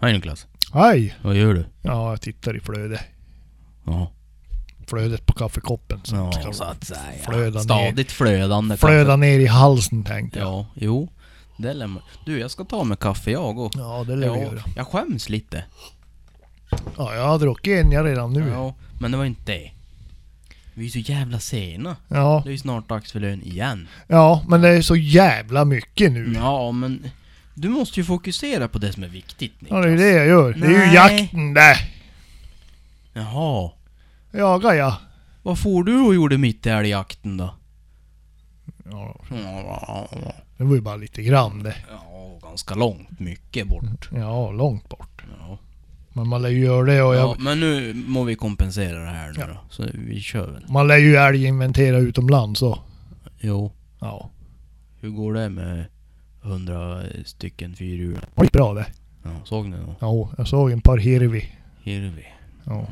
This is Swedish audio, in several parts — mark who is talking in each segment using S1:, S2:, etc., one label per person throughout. S1: Hej Niklas.
S2: Hej!
S1: Vad gör du?
S2: Ja, jag tittar i flödet.
S1: Ja.
S2: Flödet på kaffekoppen. Så
S1: Ja,
S2: ska
S1: så att säga.
S2: flöda ner.
S1: Stadigt flödande kaffe.
S2: Flöda ner i halsen tänkte jag.
S1: Ja, jo. Det lär man. Du, jag ska ta med kaffe jag och.
S2: Ja, det lär vi
S1: Ja,
S2: göra.
S1: jag skäms lite.
S2: Ja, jag har druckit en jag redan nu. Ja.
S1: Ja, men det var inte det. Vi är så jävla sena.
S2: Ja.
S1: Det är ju snart dags för lön igen.
S2: men det är så jävla mycket nu.
S1: Ja, men... Du måste ju fokusera på det som är viktigt
S2: Ja,
S1: Niklas.
S2: det är ju det jag gör. Det är ju
S1: Nej.
S2: jakten det.
S1: Jaha.
S2: Jagar jag.
S1: Vad får du och gjorde mitt i älgjakten då?
S2: Ja,
S1: Ja,
S2: det var ju bara lite grann det.
S1: ganska långt. Mycket bort.
S2: Ja, långt bort.
S1: Ja.
S2: Men man lär ju göra det och jag,
S1: Ja, men nu må vi kompensera det här nu
S2: Ja.
S1: då. Så vi kör väl.
S2: man lär ju älginventera utomlands så.
S1: Jo.
S2: Ja.
S1: Hur går det med hundra stycken fyrhjulingar?
S2: Det gick bra det.
S1: Ja, såg ni något?
S2: Ja, jag såg en par hirvi.
S1: Hirvi? Mm.
S2: Ja.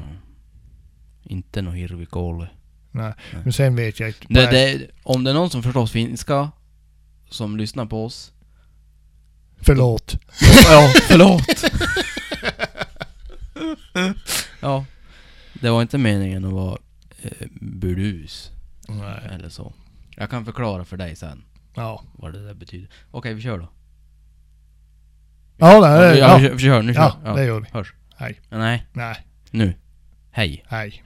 S1: Inte någon hirvikåle.
S2: Nej.
S1: Nej.
S2: Men sen vet jag inte.
S1: Det, det, om det är någon som förstår finska, som lyssnar på oss.
S2: Förlåt.
S1: ja, förlåt! ja. Det var inte meningen att vara eh, burus
S2: Nej.
S1: eller så. Jag kan förklara för dig sen
S2: Ja.
S1: vad det där betyder. Okej, vi kör då.
S2: Ja, nej,
S1: Ja,
S2: det,
S1: ja.
S2: ja.
S1: Vi, kör, vi kör, nu kör
S2: ja, det gör vi.
S1: Hörs.
S2: Hej.
S1: Nej,
S2: Nej,
S1: nu. Hej.
S2: hej.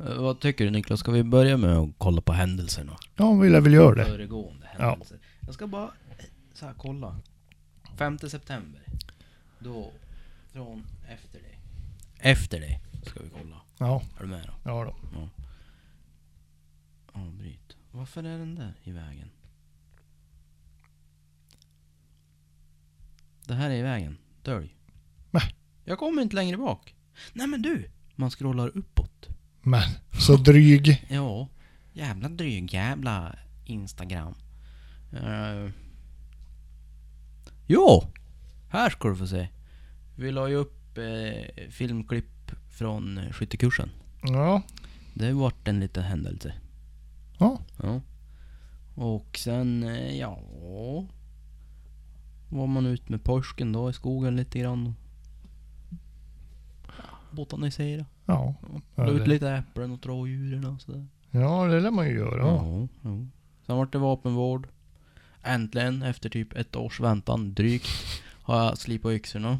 S1: Eh, Vad tycker du Niklas? Ska vi börja med att kolla på händelserna?
S2: Ja, vill jag väl göra det.
S1: Föregående
S2: Ja.
S1: händelser. Jag ska bara eh, så här, kolla. 5 september. Då, från efter det. Efter det ska vi kolla.
S2: Ja,
S1: Är du med då?
S2: ja då.
S1: Avbryt. Varför är den där i vägen? Det här är i vägen. Dölj.
S2: Nej.
S1: Jag kommer inte längre bak. Nej men du! Man scrollar uppåt.
S2: Men, så dryg.
S1: Ja. Jävla dryg jävla Instagram. Uh. Jo! Här ska du få se. Vi la ju upp eh, filmklipp från eh, skyttekursen.
S2: Ja.
S1: Det har varit en liten händelse.
S2: Ja.
S1: Ja. Och sen, eh, ja... Var man ut med påsken då i skogen lite grann. Ja, Botanisera.
S2: Ja. Ja,
S1: La ut
S2: det-
S1: lite äpplen åt rådjuren och sådär.
S2: Ja, det lär man ju göra. Ja.
S1: Ja. ja. Sen vart det vapenvård. Äntligen, efter typ ett års väntan drygt, har jag slipat yxorna.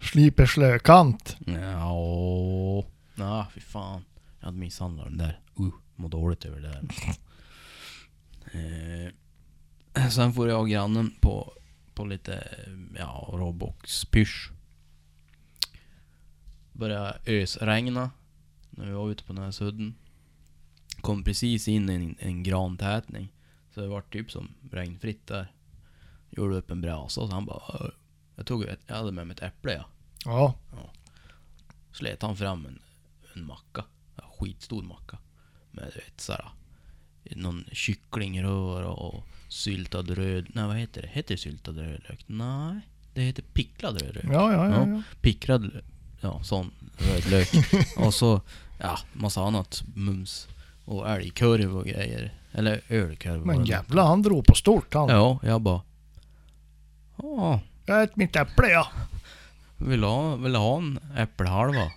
S2: Sliper slökant.
S1: Ja, nej fy fan. Jag hade misshandlat den där. Uh, mår dåligt över det där. eh, sen får jag och grannen på, på lite ja, Roblox-pysch. Började ösregna när vi var ute på den här sudden. Kom precis in i en, en grantätning. Så det var typ som regnfritt där. Gjorde upp en brasa och så han bara... "Ö." Jag, tog, ett- jag hade med mig ett äpple ja.
S2: Ja.
S1: Slet han fram en, en macka. En skitstor macka. Med du vet såhär. Någon kycklingrör och syltad röd... Nej vad heter det? Heter det syltad rödlök? Nej. Det heter picklad rödlök.
S2: Ja, ja, ja. ja.
S1: Pickrad... Ja, sån rödlök. och så... Ja, massa annat mums. Och älgkorv och grejer. Eller ölkorv. var
S2: Men
S1: det.
S2: jävlar, han drog på stort han.
S1: Ja, jag bara... Ja,
S2: Jag äter mitt äpple ja.
S1: Vill ha, vill ha en äppelhalva?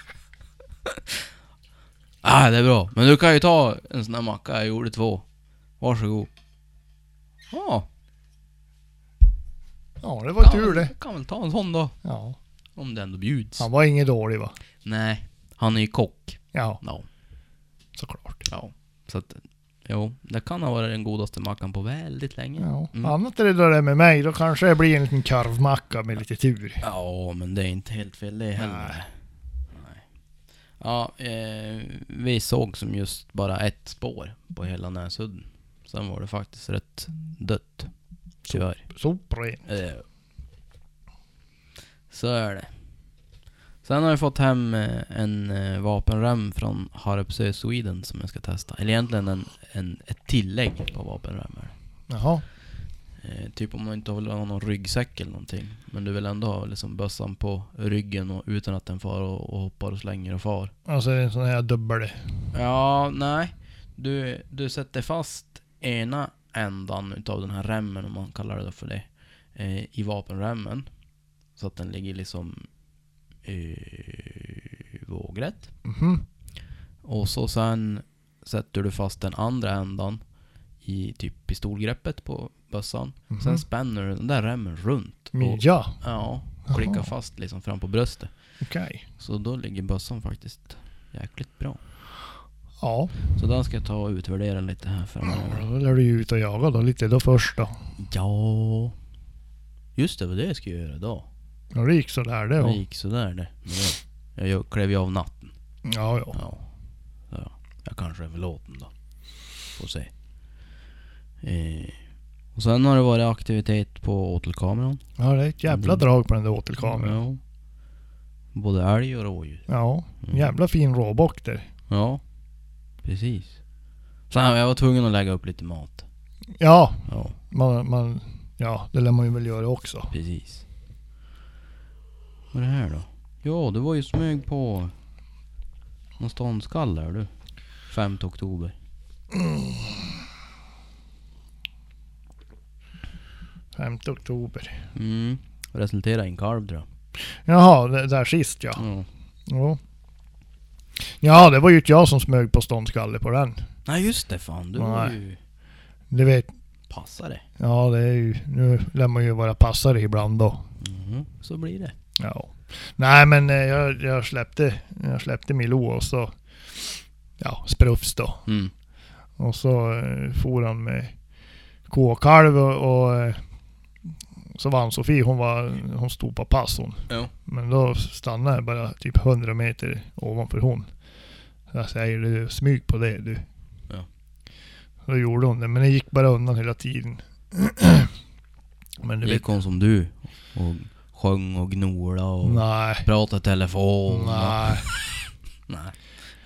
S1: ah, det är bra. Men du kan ju ta en sån här macka. Jag gjorde två. Varsågod. Ja,
S2: Ja, det var tur
S1: kan,
S2: det.
S1: kan väl ta en sån då.
S2: Ja.
S1: Om det ändå bjuds.
S2: Han var inget dålig va?
S1: Nej, han är ju kock.
S2: Ja,
S1: Ja.
S2: såklart.
S1: ja. Så att, jo, det kan ha varit den godaste mackan på väldigt länge.
S2: Ja.
S1: Mm.
S2: Annat är det där det med mig. Då kanske det blir en liten karvmacka med lite tur.
S1: Ja, men det är inte helt fel det heller.
S2: Nej.
S1: Nej. Ja, eh, vi såg som just bara ett spår på hela Näsudden. Sen var det faktiskt rätt dött. Tyvärr.
S2: Sopren.
S1: Eh, så är det. Sen har jag fått hem eh, en eh, vapenrem från Harpsö Sweden som jag ska testa. Eller egentligen en, en, ett tillägg på vapenrem. här.
S2: Jaha.
S1: Eh, typ om man inte vill ha någon ryggsäck eller någonting. Men du vill ändå ha liksom bössan på ryggen och, utan att den far och, och hoppar och slänger och far.
S2: Alltså en sån här dubbel.
S1: Ja, nej. Du, du sätter fast ena ändan utav den här remmen, om man kallar det för det, eh, i vapenremmen. Så att den ligger liksom eh, vågrätt.
S2: Mhm.
S1: Och så sen sätter du fast den andra ändan i typ pistolgreppet på bössan.
S2: Mhm.
S1: Sen spänner du den där remmen runt.
S2: Men
S1: Och,
S2: Ja,
S1: ja, och klickar
S2: Jaha.
S1: fast liksom fram på bröstet.
S2: okej.
S1: Så då ligger bössan faktiskt jäkligt bra.
S2: Ja,
S1: Så den ska jag ta och utvärdera lite här framöver.
S2: då lär du ju ut och jaga då lite då först då.
S1: Ja... Just det, det var det jag skulle göra idag.
S2: Ja, det gick sådär det.
S1: Det
S2: Ja,
S1: gick sådär det. Men jag- Jag klev ju av natten.
S2: ja. ja.
S1: Ja. ja. Jag kanske är förlåten då. Får se. Eh. Och sen har det varit aktivitet på åtelkameran.
S2: ja det är ett jävla
S1: Mm.
S2: drag på den där åtelkameran.
S1: Ja. Både älg och rådjur.
S2: Ja,
S1: Mm.
S2: jävla fin råbock där.
S1: Ja. Precis. Sen jag var tvungen att lägga upp lite mat.
S2: Ja,
S1: Ja,
S2: man, man, ja, det lär man ju väl göra också.
S1: precis. Vad är det här då? Ja, du var ju smög på någon ståndskall där du. 5 oktober.
S2: femte oktober.
S1: Mm. Resulterade i en kalv tror jag.
S2: Jaha, det där sist ja.
S1: Ja.
S2: Jo. Ja, det var ju inte jag som smög på ståndskalle på den.
S1: Nej just det fan, du var
S2: Nej.
S1: ju
S2: Det vet,
S1: passare.
S2: ja det är ju, nu lär man ju vara passare ibland då.
S1: Mhm, Så blir det.
S2: Ja. Nej men eh, jag, jag släppte, jag släppte Milo och så, ja sprufs då.
S1: Mm.
S2: Och så eh, for han med k-kalv och, och eh, så var Ann-Sofie, hon, var, hon stod på pass hon.
S1: Ja.
S2: Men då stannade jag bara typ 100 meter ovanför hon. Så jag säger du, smyg på det du.
S1: Ja.
S2: Då gjorde hon det, men det gick bara undan hela tiden. men du
S1: Gick
S2: vet...
S1: hon som du och sjöng och gnola och
S2: Nej.
S1: pratade i telefon? Och,
S2: Nej.
S1: nej.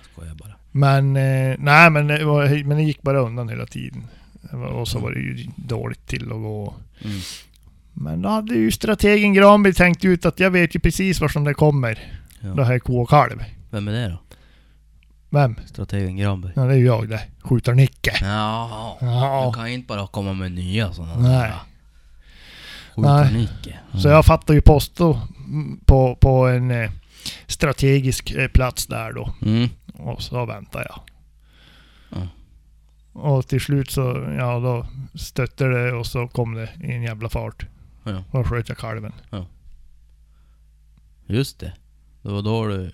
S1: Jag skojar bara.
S2: Men, eh, nej men det, var, men det gick bara undan hela tiden. Det var- Och så var det ju dåligt till att gå.
S1: Mm.
S2: Men då hade ju strategen Granberg tänkt ut att jag vet ju precis var som det kommer.
S1: Ja.
S2: Det här är ko och kalv.
S1: Vem är det då?
S2: Vem?
S1: Strategen Granberg?
S2: Ja, det är ju jag det. Skjutar-Nicke.
S1: Ja.
S2: Ja.
S1: Du kan ju inte bara komma med nya sådana
S2: Nej. Nej.
S1: Skjutnicke.
S2: Så jag fattar ju posto mm, på, på en eh, strategisk eh, plats där då.
S1: Mm.
S2: Och så väntar jag.
S1: Ja.
S2: Och till slut så, ja då stötte det och så kom det i en jävla fart.
S1: Ja.
S2: Då sköt jag kalven.
S1: Just det. Det var då du...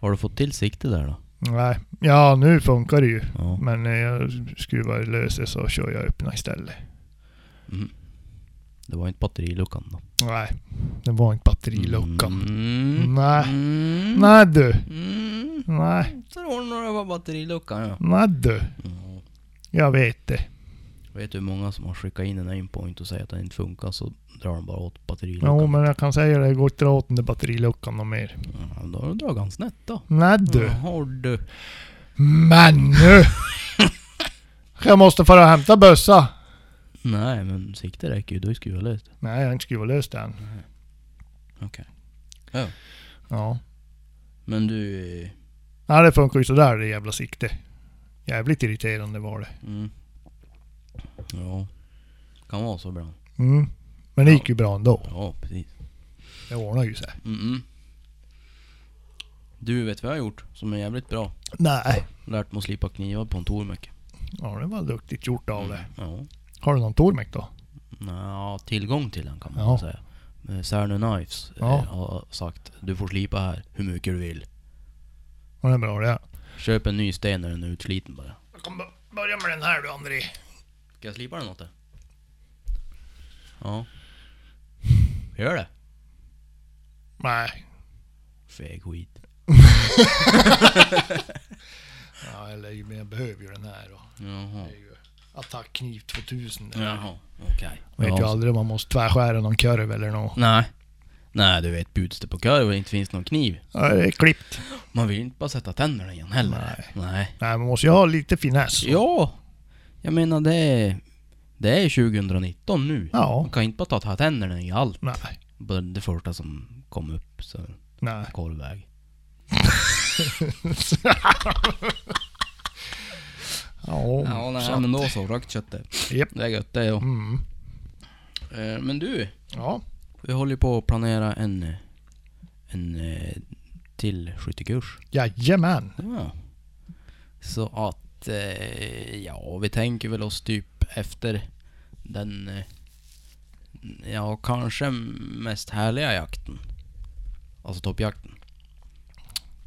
S1: Har du fått till sikte där då?
S2: Nej, ja nu funkar det ju.
S1: Ja.
S2: Men eh, jag skruvar lös det så kör jag öppna istället.
S1: Mm. Det var inte batteriluckan då?
S2: Nej, det var inte batteriluckan.
S1: Mm.
S2: Nej.
S1: Mm.
S2: Nej du,
S1: Mm.
S2: nej,
S1: Tror du det var batteriluckan ja.
S2: nej du. Jag vet det.
S1: Vet du hur många som har skickat in en aimpoint och säger att den inte funkar så drar de bara åt batteriluckan.
S2: Jo men jag kan säga det, det går inte att dra åt den där batteriluckan något mer.
S1: Ja, då har du dragit han snett då.
S2: Nej du.
S1: Har du.
S2: Men nu! Jag måste fara och hämta bössa.
S1: Nej men sikte räcker ju, du har ju skruvat löst.
S2: Nej, jag har inte skruvat lös den.
S1: Okej. Ja.
S2: Ja. Ja.
S1: Men du... eh,
S2: Nej, det funkar ju sådär det jävla sikte. Jävligt irriterande var det.
S1: Mm. Ja. Kan vara så bra.
S2: Mm. Men det gick ju bra ändå.
S1: Ja precis.
S2: Det ordnade ju sig.
S1: Mm -mm. Du vet vad jag har gjort som är jävligt bra?
S2: Nej.
S1: Lärt mig att slipa knivar på en Tormek.
S2: Ja, det var duktigt gjort av det.
S1: Ja.
S2: Har du någon Tormek då?
S1: Ja, tillgång till den kan man
S2: Ja.
S1: säga. Eh, Särnö Knives eh,
S2: Ja.
S1: har sagt du får slipa här hur mycket du vill.
S2: Ja, det är bra det.
S1: Köp en ny sten när den är utsliten bara.
S2: Jag kommer börja med den här du André.
S1: Ska jag slipa den åt dig? Ja. Gör det.
S2: Nej.
S1: Feg skit.
S2: Ja, eller men jag behöver ju den här då.
S1: Jaha.
S2: Det är ju Attackkniv 2000. där.
S1: Jaha, okej.
S2: Vet ju
S1: Ja,
S2: aldrig om man måste tvärskära någon kurv eller något.
S1: Nej. Nej, du vet bjuds det på korv och det inte finns någon kniv.
S2: Ja, det är klippt.
S1: Man vill ju inte bara sätta tänderna igen heller. Nej.
S2: Nej, man måste ju ha lite finess.
S1: Ja! Jag menar det... Det är 2019 nu.
S2: Ja.
S1: Man kan inte bara ta, ta tänderna i allt.
S2: Nej.
S1: Bara Det första som kom upp, så
S2: Nej.
S1: korvväg.
S2: Ja.
S1: Ja, nej,
S2: så-
S1: men då Mm. så. Rökt kött det.
S2: Japp.
S1: Det är gött det ja.
S2: Mm.
S1: Eh, Men du,
S2: Ja.
S1: vi håller ju på att planera en, eh, en eh, till skyttekurs.
S2: Jajamän.
S1: Ja. Så att, eh, ja, vi tänker väl oss typ efter den, eh, ja, kanske mest härliga jakten. Alltså toppjakten.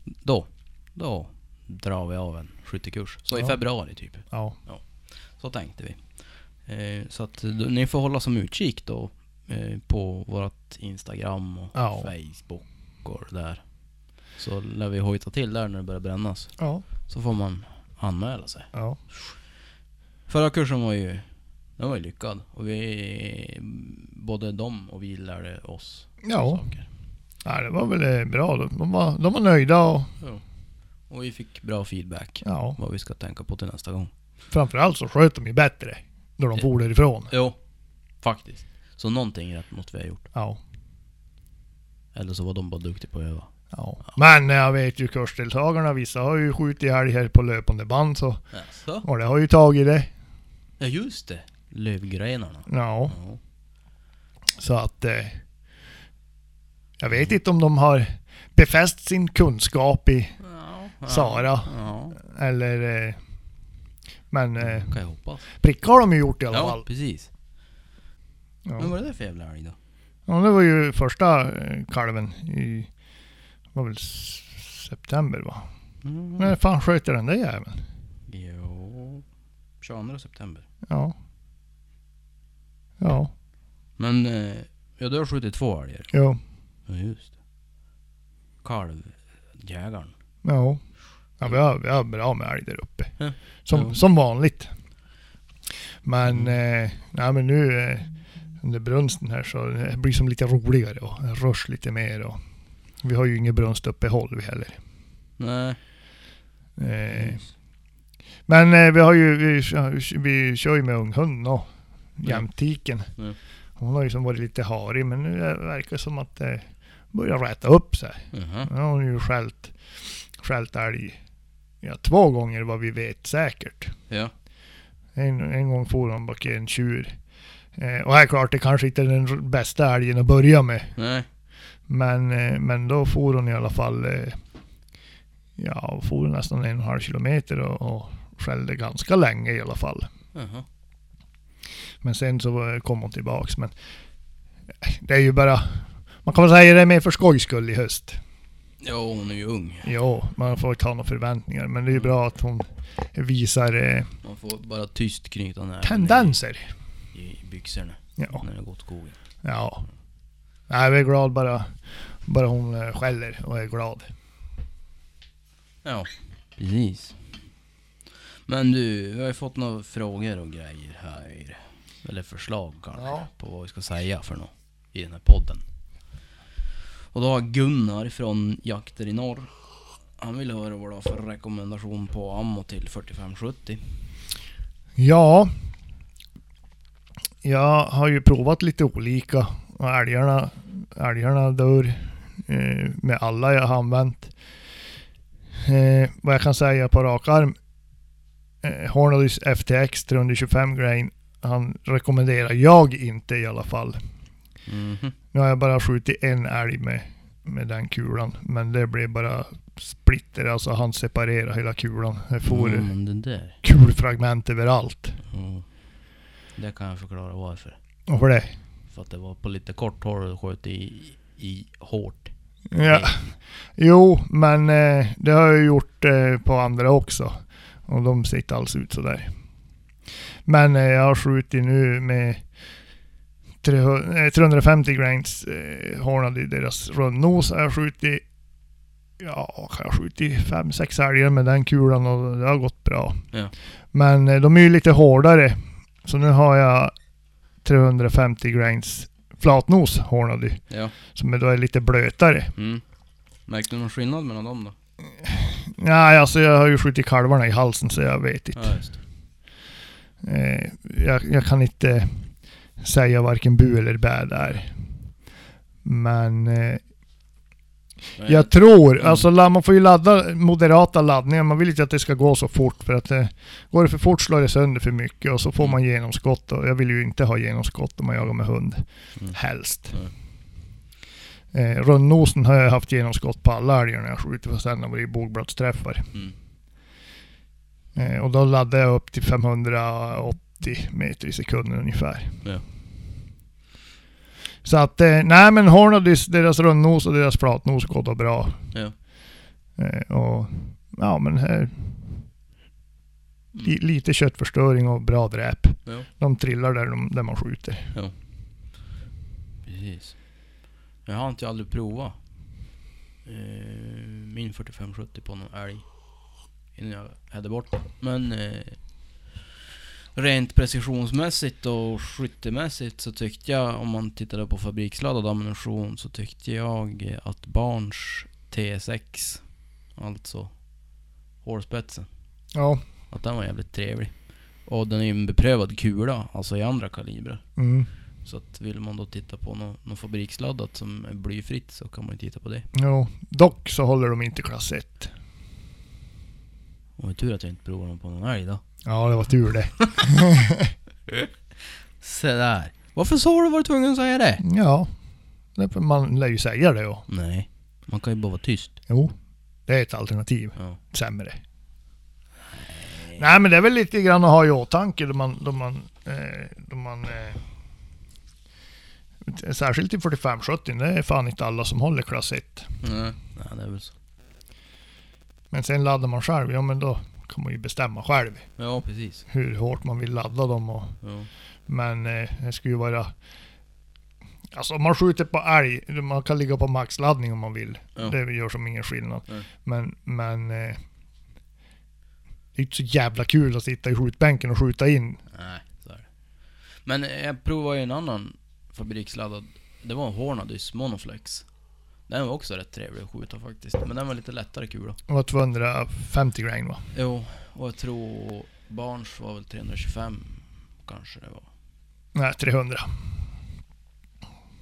S1: Då, då drar vi av en skyttekurs. Så i
S2: Ja.
S1: februari typ.
S2: Ja.
S1: Så tänkte vi. Eh, så att då, ni får hålla som utkik då eh, på vårt Instagram och
S2: Ja.
S1: Facebook och det där. Så lär vi hojta till där när det börjar brännas.
S2: Ja.
S1: Så får man anmäla sig.
S2: Ja.
S1: Förra kursen var ju, den var ju lyckad. Och vi, både de och vi lärde oss
S2: Ja.
S1: saker.
S2: Nej, det var väl eh, bra. De var, de var nöjda och
S1: Och vi fick bra feedback.
S2: ja.
S1: Vad vi ska tänka på till nästa gång.
S2: Framförallt så sköt de ju bättre. När de
S1: Ja.
S2: for därifrån.
S1: Jo, faktiskt. Så någonting rätt mot vi har gjort.
S2: Ja.
S1: Eller så var de bara duktiga på att öva.
S2: ja. Men eh, jag vet ju kursdeltagarna, vissa har ju skjutit älg här på löpande band så.
S1: Jaså?
S2: Och det har ju tagit det.
S1: Ja just det, lövgrenarna.
S2: Ja.
S1: Ja.
S2: Så att... Eh, jag vet inte om de har befäst sin kunskap i
S1: Ja.
S2: Sara.
S1: Ja,
S2: Eller... Eh, men eh,
S1: kan jag hoppas.
S2: prickar har de ju gjort i alla
S1: Ja,
S2: fall.
S1: precis. Men
S2: Ja.
S1: vad är det för jävla älg då?
S2: ja, det var ju första eh, kalven i... var väl s- september va?
S1: Mm.
S2: När fan sköt jag den där jäveln?
S1: Jo, 22 september.
S2: Ja. Ja,
S1: Men, eh, ja du har skjutit två älgar.
S2: jo,
S1: Ja just det. Kalvjägaren.
S2: ja. Ja, vi har, vi har bra med älg där uppe.
S1: Ja.
S2: Som,
S1: Ja. Mm.
S2: som vanligt. Men, eh, nej men nu eh, under brunsten här så det blir som lite roligare och en rush lite mer och vi har ju inget brunstuppehåll vi heller.
S1: Nej.
S2: Eh, Men eh, vi har ju, vi, kö- vi kör ju med unghunden och
S1: Ja.
S2: jämtiken.
S1: Ja.
S2: Hon har ju som varit lite harig men nu är- verkar det som att det börjar räta upp sig.
S1: Jaha.
S2: Nu har hon ju skällt, skällt älg ja, två gånger vad vi vet säkert.
S1: Ja.
S2: En, en gång for hon bak i en tjur. Eh, och här klart, det kanske inte är den r- bästa älgen att börja med.
S1: Nej.
S2: Men, eh, men då for hon i alla fall, eh, ja, for hon nästan en och en halv kilometer och, och skällde ganska länge i alla fall.
S1: Jaha.
S2: Men sen så var- kom hon tillbaks. Men eh, det är ju bara, man kan väl säga det är mer för skojs skull i höst.
S1: Jo, hon är ju ung.
S2: Jo, man får inte ha några förväntningar. Men det är ju bra att hon visar eh,
S1: Man får bara tyst knyta näven i-
S2: tendenser.
S1: i byxorna
S2: Ja.
S1: när det går åt skogen.
S2: ja. Nej, vi är glad bara, bara hon eh, skäller och är glad.
S1: Ja, precis. Men du, vi har ju fått några frågor och grejer här. Eller förslag kanske,
S2: Ja.
S1: på vad vi ska säga för något i den här podden. Och då har Gunnar från Jakter i Norr. Han vill höra vad du har för rekommendation på ammo till 4570.
S2: Ja. Jag har ju provat lite olika. Och älgarna, älgarna dör eh, med alla jag har använt. Eh, vad jag kan säga på rak arm. Eh, Hornadys FTX 325 grain. Han rekommenderar jag inte i alla fall.
S1: Mhm.
S2: Nu har jag bara skjutit en älg med, med den kulan. Men det blev bara splitter. Alltså han separerade hela kulan. Det for
S1: Mm, men det där.
S2: kulfragment överallt.
S1: Mm. Det kan jag förklara varför.
S2: Varför det?
S1: För att det var på lite kort håll och sköt i, i hårt.
S2: Ja. Jo, men eh, det har jag gjort eh, på andra också. Och de ser inte alls ut sådär. Men eh, jag har skjutit nu med 300, eh, 350 grains eh, hornad i deras rundnos. Jag har skjutit, ja, jag har skjutit fem, sex älgar med den kulan och det har gått bra.
S1: Ja.
S2: Men eh, de är ju lite hårdare. Så nu har jag 350 grains flatnos hornady
S1: Ja.
S2: som då är lite blötare.
S1: Mm. Märkte du någon skillnad mellan dem då?
S2: Nej, alltså jag har ju skjutit kalvarna i halsen så jag vet inte.
S1: Ja, just det.
S2: Eh, jag, jag kan inte säga varken bu eller bä där. Men eh, jag tror,
S1: Mm.
S2: alltså la- man får ju ladda moderata laddningar. Man vill inte att det ska gå så fort för att eh, går det för fort slår det sönder för mycket och så får man genomskott och jag vill ju inte ha genomskott om man jagar med hund.
S1: Mm.
S2: Helst. Eh, rundnosen har jag haft genomskott på alla älgar när jag skjutit fast den har varit bågblattsträffar.
S1: Mm.
S2: Eh, och då laddade jag upp till 580 meter i sekunden ungefär.
S1: Ja.
S2: Så att, eh, nej men Hornadys, deras rundnos och deras platnos går då bra.
S1: Ja.
S2: Eh, och, ja men här, li, lite köttförstöring och bra dräp.
S1: Ja.
S2: De trillar där, de, där man skjuter.
S1: Precis. Jag har inte aldrig provat eh, min 4570 på någon älg. Innan jag hade bort den. Men eh, rent precisionsmässigt och skyttemässigt så tyckte jag, om man tittade på fabriksladdad ammunition, så tyckte jag att Barnes T6, alltså hårspetsen,
S2: Ja.
S1: att den var jävligt trevlig. Och den är ju en beprövad kula, alltså i andra kalibrer.
S2: Mm.
S1: Så att vill man då titta på något, något fabriksladdat som är blyfritt så kan man ju titta på det.
S2: Jo. Dock så håller de inte klass 1.
S1: Och det är tur att jag inte provar dem på någon älg då.
S2: Ja, det var tur det.
S1: Se där. Varför sa du var du tvungen att säga det?
S2: Ja. Därför Man lär ju säga det då.
S1: Nej. Man kan ju bara vara tyst.
S2: Jo. Det är ett alternativ.
S1: Ja.
S2: sämre. Nej men det är väl lite grann att ha i åtanke då man, då man, eh, då man eh, Särskilt i 45-70, det är fan inte alla som håller klass 1.
S1: Nej. Nej, det är väl så.
S2: Men sen laddar man själv, ja men då kan man ju bestämma själv
S1: Ja, precis.
S2: hur hårt man vill ladda dem. Och,
S1: Ja.
S2: men eh, det skulle ju vara... Alltså om man skjuter på älg, man kan ligga på maxladdning om man vill.
S1: Ja.
S2: Det gör som ingen skillnad.
S1: Nej.
S2: Men, men... Eh, det är inte så jävla kul att sitta i skjutbänken och skjuta in
S1: Nej, så är det. Men eh, jag provade ju en annan fabriksladdad. Det var en Hornadys Monoflex. Den var också rätt trevlig att skjuta faktiskt. Men den var lite lättare kula.
S2: Det var 250 grain va?
S1: Jo, och jag tror Barnes var väl 325 kanske det var.
S2: Nej, 300.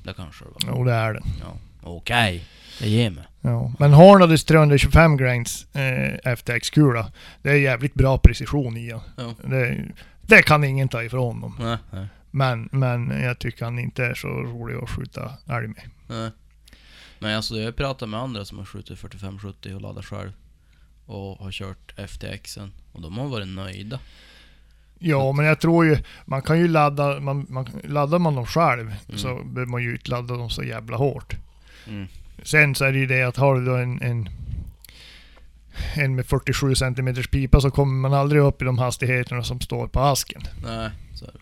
S1: Det kanske det var.
S2: Jo, det är det.
S1: Ja. Okej, det ger mig.
S2: Ja. Men Hornadys 325 grains eh, FTX-kula, det är jävligt bra precision i den.
S1: Ja.
S2: Det, det kan ingen ta ifrån dem.
S1: Nej, nej,
S2: Men, men jag tycker han inte är så rolig att skjuta älg med.
S1: nej. Men alltså jag pratar med andra som har skjutit 45-70 och laddat själv. Och har kört FTXen. Och de har varit nöjda.
S2: Ja, men jag tror ju, man kan ju ladda, man, man, laddar man dem själv så behöver man ju inte ladda dem så jävla hårt.
S1: Mm.
S2: Sen så är det ju det att har du då en, en, en med 47 cm pipa så kommer man aldrig upp i de hastigheterna som står på asken.
S1: Nej, så är det.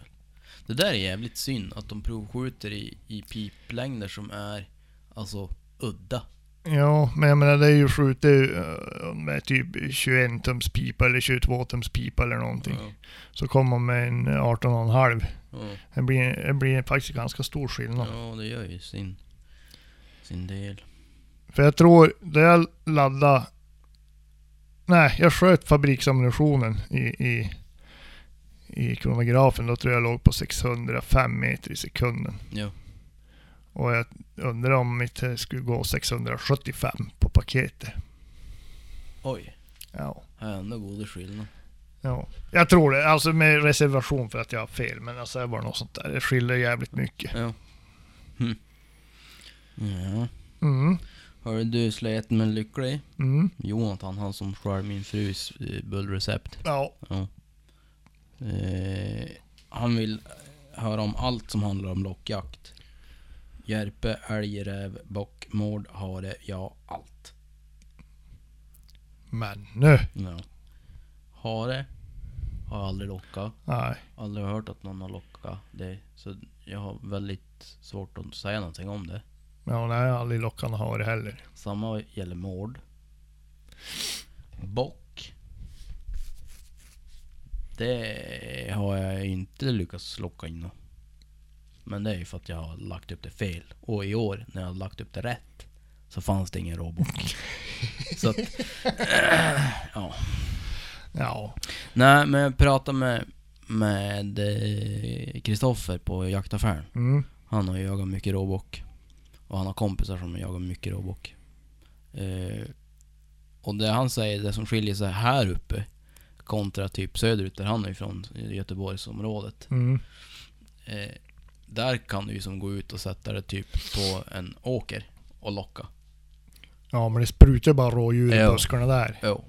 S1: Det där är jävligt synd att de provskjuter i, i piplängder som är alltså udda.
S2: Ja, men jag menar det är ju skjutet eh, med typ 21 tums pipa eller 22 tums pipa eller någonting.
S1: Ja.
S2: Så kommer man med en 18,5.
S1: Ja.
S2: Det blir, det blir faktiskt ganska stor skillnad.
S1: ja, det gör ju sin, sin del.
S2: För jag tror, då jag laddade... Nej, jag sköt fabriksammunitionen i, i, i kronografen. Då tror jag låg på 605 meter i sekunden.
S1: Ja.
S2: Och jag undrar om mitt eh, skulle gå 675 på paketet.
S1: Oj,
S2: Ja.
S1: här är ändå god skillnad.
S2: ja. Jag tror det, alltså med reservation för att jag har fel. Men alltså det var något sånt där. Det skiljer jävligt mycket.
S1: Ja. Hm. Ja.
S2: Mm.
S1: Hörru du, släten men lycklig.
S2: Mm.
S1: Jonathan, han som skär min frus eh, bullrecept.
S2: Ja.
S1: Ja. Eh, han vill höra om allt som handlar om lockjakt. Järpe, älg, räv, bock, mård, hare, ja allt.
S2: Men nu.
S1: Ja. Hare har jag aldrig lockat.
S2: Nej.
S1: Aldrig hört att någon har lockat det. Så jag har väldigt svårt att säga någonting om det.
S2: Ja, nej, jag har aldrig lockat någon hare heller.
S1: Samma gäller mård. Bock. Det har jag inte lyckats locka in. något. Men det är ju för att jag har lagt upp det fel. Och i år när jag har lagt upp det rätt så fanns det ingen råbock. så att, ja.
S2: Ja.
S1: Nej men jag pratade med, med eh, Kristoffer på jaktaffären.
S2: Mm.
S1: Han har jagat mycket råbock. Och han har kompisar som jagar mycket råbock. Eh, och det han säger, det som skiljer sig här uppe kontra typ söderut där han är ifrån, i Göteborgsområdet.
S2: Mm.
S1: Eh, där kan du ju som gå ut och sätta det typ på en åker och locka.
S2: Ja, men det sprutar bara rådjur i
S1: Ja.
S2: buskarna där.
S1: Jo.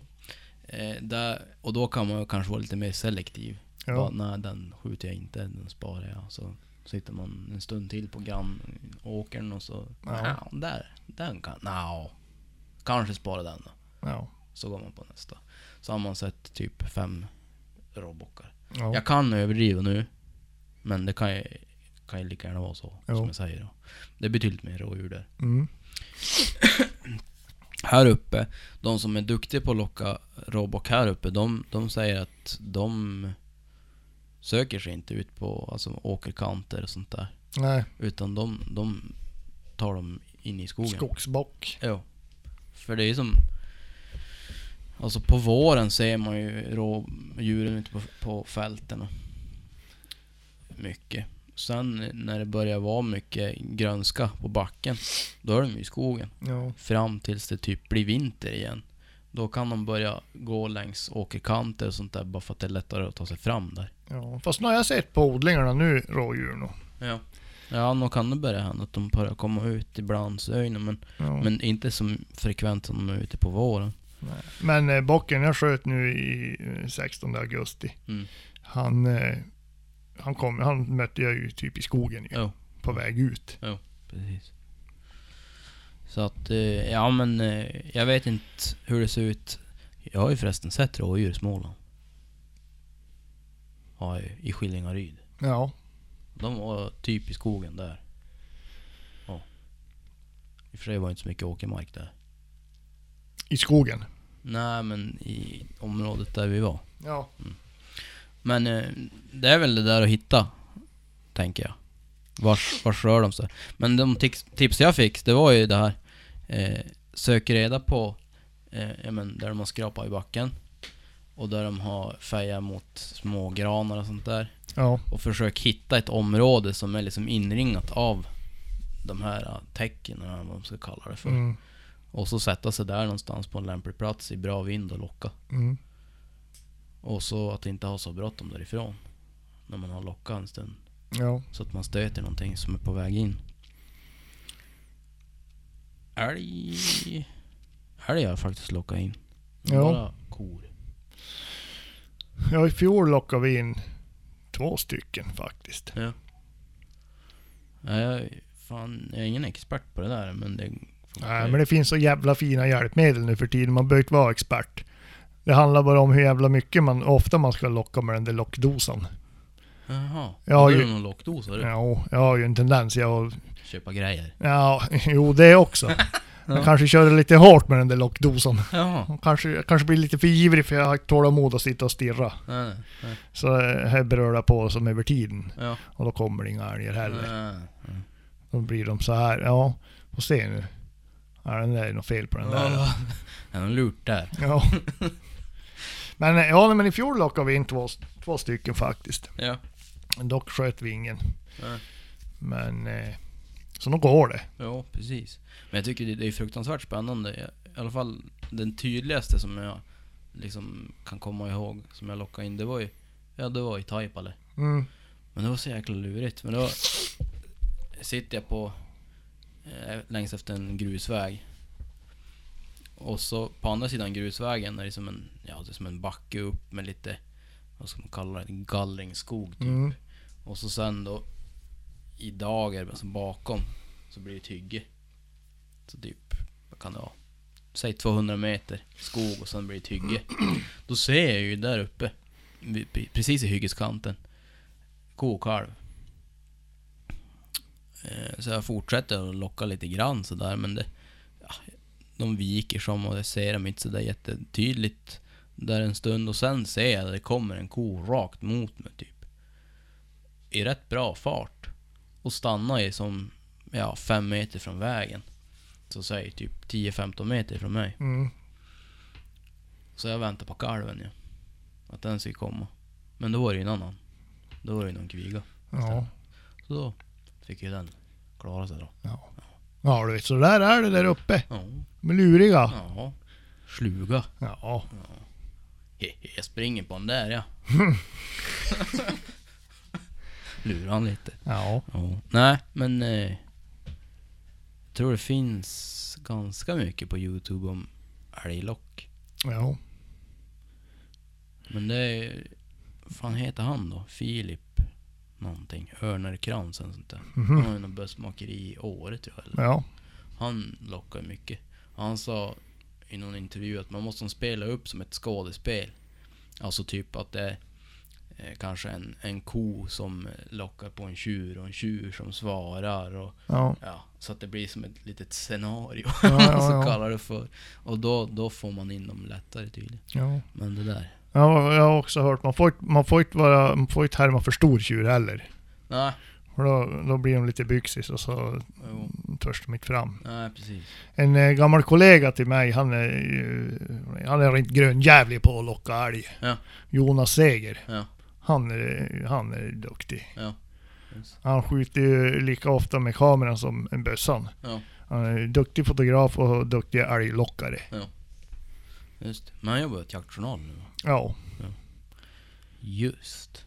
S1: Eh, där, och då kan man ju kanske vara lite mer selektiv. Bara,
S2: Ja.
S1: nej, den skjuter jag inte, den sparar jag. Så sitter man en stund till på grannåkern och så...
S2: Ja.
S1: Ja. där, den kan... Nja. Kanske spara den då.
S2: Ja.
S1: Så går man på nästa. Så har man sett typ fem råbockar.
S2: Ja.
S1: Jag kan överdriva nu, men det kan ju, kan ju lika gärna vara så.
S2: Jo.
S1: Som jag säger då. Det är betydligt mer rådjur där.
S2: Mm.
S1: Här uppe, de som är duktiga på att locka råbock här uppe, de, de säger att de söker sig inte ut på alltså, åkerkanter och sånt där.
S2: Nej,
S1: Utan de, de tar dem in i skogen.
S2: skogsbock.
S1: Jo. För det är ju som... Alltså på våren ser man ju rådjuren ute på, på fälten och mycket. Sen när det börjar vara mycket grönska på backen, då är de ju i skogen.
S2: Ja.
S1: Fram tills det typ blir vinter igen. Då kan de börja gå längs åkerkanter och sånt där bara för att det är lättare att ta sig fram där.
S2: ja. Fast nu har jag sett på odlingarna nu, rådjur nog.
S1: Ja. Ja, nog kan det börja hända att de börjar komma ut i blandsögnen men,
S2: Ja.
S1: men inte så frekvent som de är ute på våren.
S2: Nej. Men eh, bocken jag sköt nu i eh, 16 augusti.
S1: Mm.
S2: Han, eh, han, kom, han mötte jag ju typ i skogen ju,
S1: Ja.
S2: på väg ut.
S1: Precis. Så att, eh, ja men eh, jag vet inte hur det ser ut. Jag har ju förresten sett rådjur i Småland. Ja, i- i Skillingaryd.
S2: Ja.
S1: De var typ i skogen där. Ja. I och för sig var det inte så mycket åkermark där.
S2: I skogen.
S1: Nej men i området där vi var.
S2: Ja.
S1: Men eh, det är väl det där att hitta, tänker jag. Vars, vars rör de sig? Men de tips, tips jag fick, det var ju det här. Eh, sök reda på eh, ja, men där de har skrapat i backen. Och där de har färgat mot smågranar och sånt där.
S2: Ja.
S1: Och försök hitta ett område som är liksom inringat av de här eh, tecknen, eller vad man ska kalla det för.
S2: Mm.
S1: Och så sätta sig där någonstans på en lämplig plats i bra vind och locka.
S2: Mm.
S1: Och så att inte ha så bråttom därifrån. När man har lockat en stund.
S2: Ja.
S1: Så att man stöter någonting som är på väg in. Älg... Älg har jag faktiskt lockat in.
S2: Ja.
S1: Några kor.
S2: ja, i fjol lockade vi in två stycken faktiskt.
S1: Nej, Jag, är- fan, jag är ingen expert på det där men det...
S2: Nej, men det finns så jävla fina hjälpmedel nu för tiden. Man behöver inte vara expert. Det handlar bara om hur jävla mycket man, ofta man ska locka med den där lockdosan.
S1: Jaha. Jag
S2: Jag har
S1: har du
S2: ju-
S1: någon lockdos? Har du?
S2: Ja, jag har ju en tendens. Jag
S1: Köpa grejer.
S2: Ja, jo det också. Jag
S1: Ja.
S2: kanske körde lite hårt med den där lockdosan.
S1: Jaha.
S2: Och Kanske, jag kanske blir lite för ivrig för jag har tålamod att sitta och stirra.
S1: Nej, nej, nej.
S2: Så eh, här berör det på som över tiden.
S1: Ja.
S2: Och då kommer det inga älgar heller.
S1: Nej.
S2: Då blir de så här. Ja, får se nu. Ja, den där är något fel på den där.
S1: Ja. Det är någon lurt där.
S2: Ja. Men, eh, ja, nej, men i fjol lockade vi in två, två stycken faktiskt.
S1: Ja.
S2: Men dock sköt vi ingen.
S1: Nej.
S2: Men... Eh, så nog går det.
S1: Ja, precis. Men jag tycker det, det är fruktansvärt spännande. I alla fall den tydligaste som jag liksom kan komma ihåg, som jag lockade in, det var ju, ja det var i Taipale.
S2: Mm.
S1: Men det var så jäkla lurigt. Men då sitter jag på, eh, längs efter en grusväg. Och så på andra sidan grusvägen är det som en, ja det är som en backe upp med lite, vad ska man kalla det, gallringsskog typ.
S2: Mm.
S1: Och så sen då i dagar, alltså bakom, så blir det ett hygge. Så typ, vad kan det vara? Säg 200 meter skog och sen blir det ett hygge. Då ser jag ju där uppe, vid- precis i hyggeskanten, ko och kalv. Eh, Så jag fortsätter att locka lite grann sådär men det... Ja, de viker som och jag ser dem inte sådär jättetydligt där en stund och sen ser jag att det kommer en ko rakt mot mig typ i rätt bra fart och stannar ju som, ja, fem meter från vägen. Så säg typ 10-15 meter från mig.
S2: Mm.
S1: Så jag väntar på kalven ju. Att den ska komma. Men då var det ju en annan. Då var det ju någon kviga.
S2: Ja.
S1: Så då fick ju den klara sig då.
S2: Ja, ja du vet, så där är det där uppe.
S1: Ja.
S2: De är luriga.
S1: ja. Sluga.
S2: Ja.
S1: He, he, jag springer på den där ja. Lurar han lite.
S2: Ja.
S1: Ja. Nej, men... Eh, jag tror det finns ganska mycket på Youtube om älglock.
S2: Ja.
S1: Men det är... Vad fan heter han då? Filip någonting. Örnerkrans eller sånt där. Han har ju något bössmakeri i Åre tror jag. Eller?
S2: Ja.
S1: Han lockar ju mycket. Han sa i någon intervju att man måste spela upp som ett skådespel. Alltså typ att det är eh, kanske en, en ko som lockar på en tjur och en tjur som svarar. Och,
S2: Ja.
S1: ja, så att det blir som ett litet scenario.
S2: Ja, ja,
S1: så
S2: ja.
S1: kallar det för. Och då, då får man in dem lättare tydligen.
S2: ja.
S1: Men det där.
S2: Ja, jag har också hört, man får, inte- man får inte vara, man får inte härma för stor tjur heller.
S1: Nej,
S2: För då, då blir de lite byxis och så
S1: jo,
S2: törs de inte fram.
S1: nej precis.
S2: En eh, gammal kollega till mig, han är ju, han är rent grönjävlig på att locka älg.
S1: Ja.
S2: Jonas Seger.
S1: Ja.
S2: Han är, han är duktig.
S1: Ja.
S2: Han skjuter ju lika ofta med kameran som en bössan.
S1: Ja.
S2: Han är duktig fotograf och duktig älglockare.
S1: Just det. Men han jobbar ju åt Jaktjournal nu va?
S2: Ja.
S1: Just.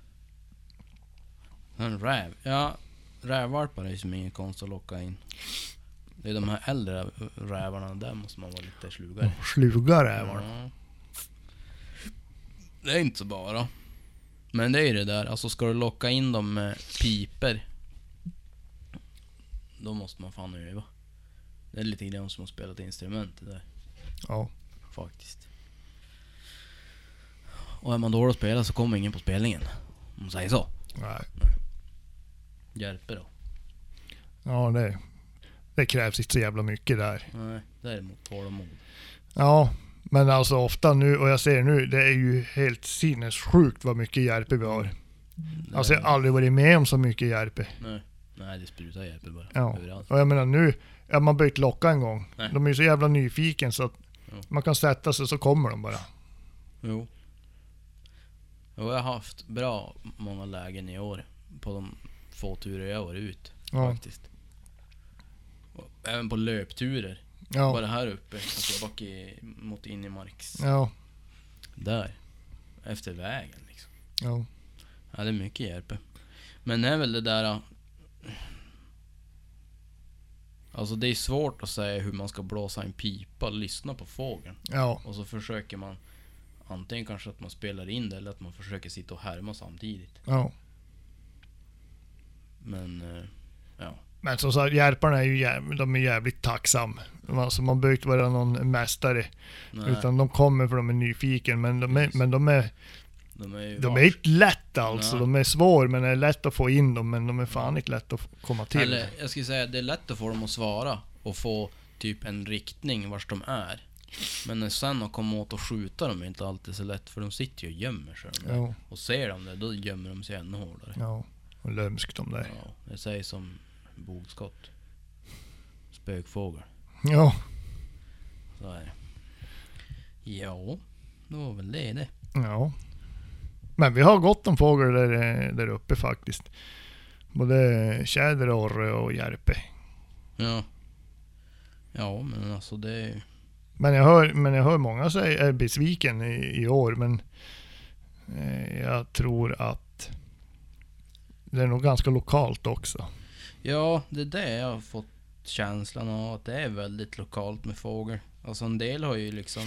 S1: En räv. Ja, rävvalpar är ju som ingen konst att locka in. Det är de här äldre rävarna, där måste man vara lite slugare.
S2: Slugare är han.
S1: Ja. Mm. Det är inte så bara. Men det är ju det där, alltså ska du locka in dem med piper Då måste man fan öva. Det är lite grann som att spela ett instrument det där,
S2: Ja.
S1: faktiskt. Och är man dålig att spela så kommer ingen på spelningen. Om man säger så.
S2: Nej.
S1: Hjälper då?
S2: Ja, det, det krävs inte så jävla mycket där.
S1: Nej, däremot tålamod.
S2: Ja, men alltså ofta nu, och jag ser nu, det är ju helt sinnessjukt vad mycket järpe vi har.
S1: Det-
S2: Alltså jag har aldrig varit med om så mycket järpe.
S1: Nej, nej, det sprutar hjälper bara.
S2: Ja.
S1: Överallt.
S2: Och jag menar nu, ja, man behöver inte locka en gång.
S1: Nej.
S2: De är ju så jävla nyfiken så att
S1: Ja.
S2: man kan sätta sig så kommer de bara.
S1: Jo. Jo, jag har haft bra många lägen i år. På de få turer jag har varit ut.
S2: Ja.
S1: Faktiskt. Och även på löpturer.
S2: Ja,
S1: Bara här uppe. Alltså bak i, mot Ingemarks.
S2: ja,
S1: Där. Efter vägen liksom.
S2: ja,
S1: Ja, det är mycket hjälp. Men det är väl det där... ah, Alltså det är svårt att säga hur man ska blåsa en pipa, lyssna på fågeln.
S2: ja,
S1: Och så försöker man antingen kanske att man spelar in det eller att man försöker sitta och härma samtidigt.
S2: ja.
S1: Men eh,
S2: Men som sagt, järparna är ju jäv, de är jävligt tacksam. Alltså man behöver inte vara någon mästare.
S1: nej,
S2: Utan de kommer för de är nyfiken. Men de är,
S1: Precis.
S2: men de är,
S1: de är ju
S2: de är
S1: vars.
S2: inte lätta alltså.
S1: Nej.
S2: De är svår men det är lätt att få in dem. Men de är fan inte lätt att komma till.
S1: Eller jag skulle säga det är lätt att få dem att svara och få typ en riktning vars de är. Men sen att komma åt och skjuta dem är inte alltid så lätt för de sitter ju och gömmer sig. de där.
S2: Ja,
S1: Och ser de det, då gömmer de sig ännu hårdare.
S2: ja. Och lömskt de där.
S1: Ja, det sägs som bogskott. Spökfågel.
S2: Ja,
S1: Så är det. Ja, det var väl det det.
S2: ja. Men vi har gott om fågel där, eh, där uppe faktiskt. Både tjäder, orre och järpe.
S1: Ja. Ja, men alltså det...
S2: Men jag hör, men jag hör många säga är besviken i, i år. Men eh, jag tror att det är nog ganska lokalt också.
S1: Ja, det är det jag har fått känslan av. Att det är väldigt lokalt med fågel. Alltså en del har ju liksom...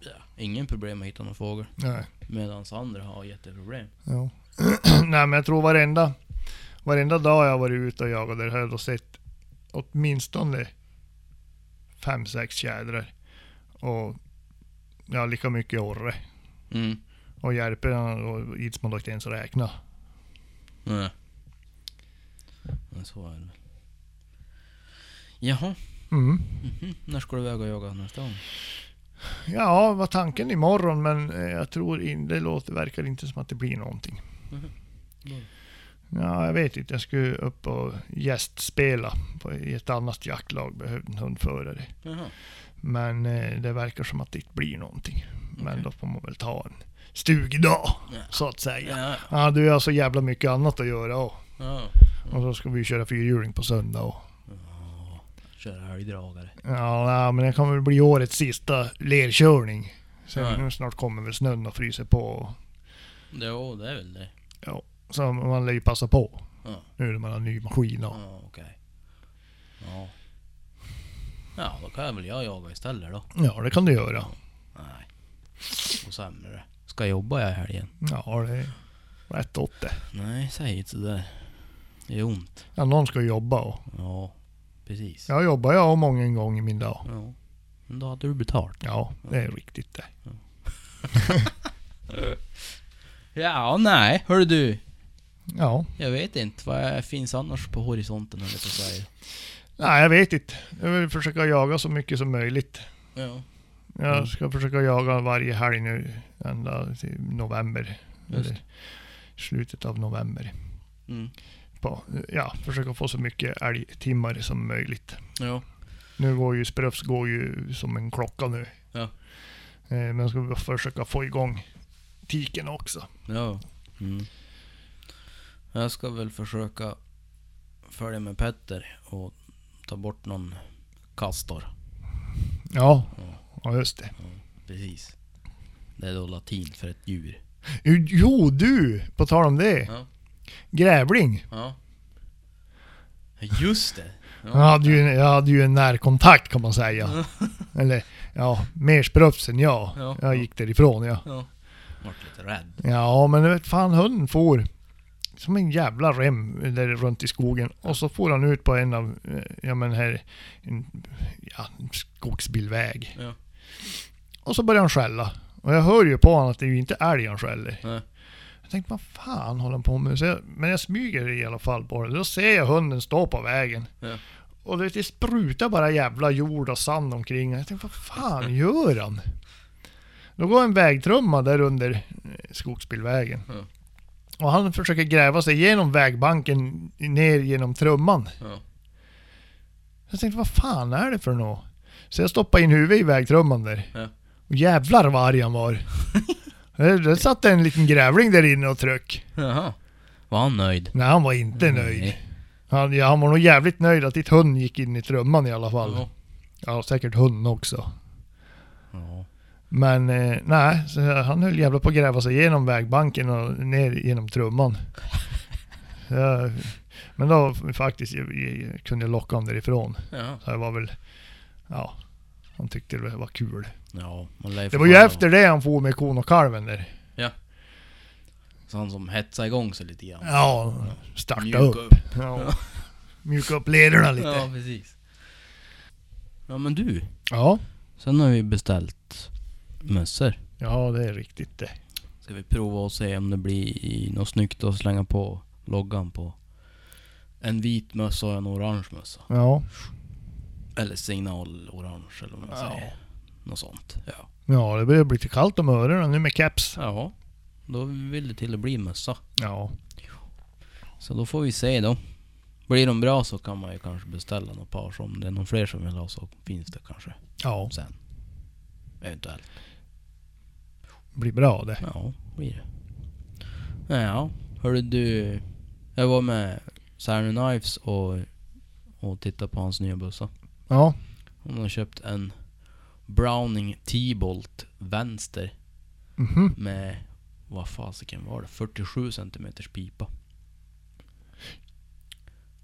S1: Ja, ingen problem att hitta någon fågel.
S2: Nej.
S1: Medan andra har jätteproblem.
S2: Ja. Nej men jag tror varenda, varenda dag jag har varit ute och jagat där har jag då sett åtminstone fem, sex tjädrar. Och ja, lika mycket orre.
S1: Mm.
S2: Och järpen och ids man då inte ens räkna.
S1: Nej. Men så är det väl. Jaha.
S2: Mm.
S1: Mhm. När ska du iväg och jaga nästa gång?
S2: Ja, var tanken imorgon men eh, jag tror in, det låter, verkar inte som att det blir någonting.
S1: Mhm. Bra.
S2: Ja, jag vet inte. Jag skulle upp och gästspela på, i ett annat jaktlag. Behövde en hundförare.
S1: Jaha.
S2: Men eh, det verkar som att det inte blir någonting. Men
S1: Okej.
S2: då får man väl ta en stugdag,
S1: Ja.
S2: så att säga.
S1: Ja.
S2: Ja, du har så jävla mycket annat att göra och,
S1: Ja. Mm.
S2: och så ska vi köra fyrhjuling på söndag och,
S1: Köra älgdragare.
S2: Ja, nej, men det kan väl bli årets sista lerkörning. Sen
S1: Ja.
S2: nu snart kommer väl snön och fryser på. och-
S1: Jo, det är väl det.
S2: Så man lär ju passa på.
S1: Ja.
S2: Nu när man har ny maskin och...
S1: Ja, okej. Ja. Ja, då kan jag väl jag jaga istället då.
S2: Ja, det kan du göra.
S1: Nej. Och sämre. Ska jobba jag i helgen?
S2: Ja, det är rätt åt det.
S1: Nej, säg inte sådär. Det är ont.
S2: Ja, någon ska ju jobba och...
S1: Ja, precis.
S2: Jag jobbar jag många en gång i min dag.
S1: Ja. Men då hade du betalt.
S2: Ja, det är riktigt det.
S1: Eh. Ja, nej. Hör du.
S2: Ja.
S1: Jag vet inte vad finns annars på horisonten eller på Sverige.
S2: Nej, jag vet inte. Jag vill försöka jaga så mycket som möjligt.
S1: Ja.
S2: Jag
S1: Mm.
S2: ska försöka jaga varje helg nu. Ända till november.
S1: Just.
S2: Eller slutet av november.
S1: Mm.
S2: på, ja, försöka få så mycket älgtimmar som möjligt.
S1: Ja.
S2: Nu går ju Spröfs går ju som en klocka nu.
S1: Ja.
S2: Eh, Men ska vi försöka få igång tiken också.
S1: Ja. Mm. Jag ska väl försöka följa med Petter och ta bort någon kastor.
S2: Ja, ja just det.
S1: Precis. Det är då latin för ett djur.
S2: Jo du, på tal om det.
S1: Ja.
S2: Grävling.
S1: Ja. Just det.
S2: Jag hade, ju, jag hade ju en närkontakt kan man säga. Eller ja, mer Spröfs än jag.
S1: Ja.
S2: Jag gick därifrån ja.
S1: Ja. Vart lite rädd.
S2: Ja, men du vet fan hunden får som en jävla rem där runt i skogen och så får han ut på en av, eh, ja men här, en, ja, en skogsbilväg.
S1: Ja.
S2: Och så börjar han skälla. Och jag hör ju på honom att det är ju inte älg han skäller.
S1: Nej.
S2: Jag tänkte, vad fan håller han på med? Så jag, men jag smyger i alla fall på det. Då ser jag hunden stå på vägen.
S1: Ja.
S2: Och det, det sprutar bara jävla jord och sand omkring Jag tänkte, vad fan gör han? Då går en vägtrumma där under eh, skogsbilvägen.
S1: Ja.
S2: Och han försöker gräva sig genom vägbanken ner genom trumman.
S1: Ja.
S2: Jag tänkte, vad fan är det för något? Så jag stoppade in huvudet i vägtrumman där.
S1: Ja.
S2: Och jävlar vad arg han var. det, det satt en liten grävling där inne och tryck.
S1: Jaha. Var han nöjd?
S2: Nej, han var inte nöjd. Han, ja, han var nog jävligt nöjd att ditt hund gick in i trumman i alla fall.
S1: Ja.
S2: Ja, säkert hunden också.
S1: Ja.
S2: Men eh, nej, så han höll jävla på att gräva sig genom vägbanken och ner genom trumman. Ja, men då faktiskt jag, jag, jag kunde locka honom därifrån.
S1: Ja.
S2: Så det var väl, ja, han tyckte det var kul.
S1: ja. man lär ju
S2: Det var ju
S1: förbannad.
S2: efter det han for med kon och kalven där.
S1: Så han som hetsade igång sig lite grann.
S2: Ja, starta
S1: Mjuka
S2: upp. Ja. Mjuka upp lederna
S1: Ja,
S2: lite.
S1: precis. Ja men du.
S2: Ja,
S1: Sen har vi beställt mössor.
S2: ja det är riktigt det.
S1: Ska vi prova och se om det blir något snyggt att slänga på loggan på. En vit mössa och en orange mössa.
S2: Ja,
S1: Eller signal orange eller vad man
S2: Ja.
S1: säger. Något sånt. Ja.
S2: ja det börjar bli lite kallt om öronen nu med caps.
S1: ja. Då vill det till att bli mössa.
S2: Ja,
S1: Så då får vi se då. Blir de bra så kan man ju kanske beställa några par. Så om det är någon fler som vill ha så finns det kanske
S2: ja,
S1: sen. Eventuellt.
S2: blir bra det.
S1: Ja, blir det. Ja, hörde du. Jag var med Saturn Knives och, och tittade på hans nya bussa.
S2: Ja,
S1: Hon har köpt en Browning T-Bolt vänster.
S2: mhm.
S1: med, vad fasiken var det, 47 cm pipa.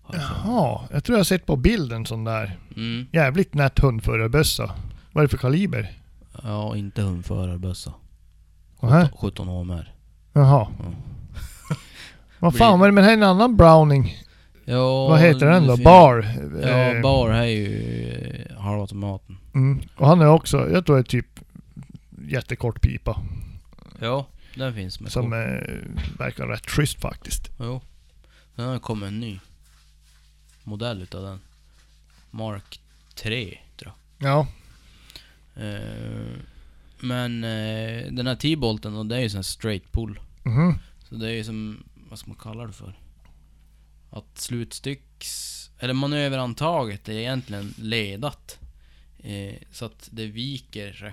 S1: Har jag för mig.
S2: Jaha, jag tror jag har sett på bilden sån där.
S1: Mm.
S2: Jävligt nätt hundförarbössa. Vad är det för kaliber?
S1: Ja, inte hundförarbössa.
S2: Nähä.
S1: 17 HMR.
S2: Jaha.
S1: Ja.
S2: Vad fan var det med den här en annan Browning?
S1: Ja,
S2: Vad heter den
S1: det
S2: då?
S1: finns-
S2: Bar?
S1: Ja,
S2: Eh,
S1: bar här är ju eh, halvautomaten.
S2: Mm. Och han är också, jag tror det är typ jättekort pipa.
S1: Ja, den finns med.
S2: Som
S1: kort.
S2: eh, verkar rätt schysst faktiskt.
S1: Jo. Sen har det kommit en ny modell utav den. Mark 3, tror jag.
S2: Ja.
S1: Eh, men eh, den här T-bolten, då, det är ju sån här straight pull.
S2: Mhm.
S1: Så det är ju som, vad ska man kalla det för? Att slutstycks... Eller manöverantaget är egentligen ledat. Eh, så att det viker sig.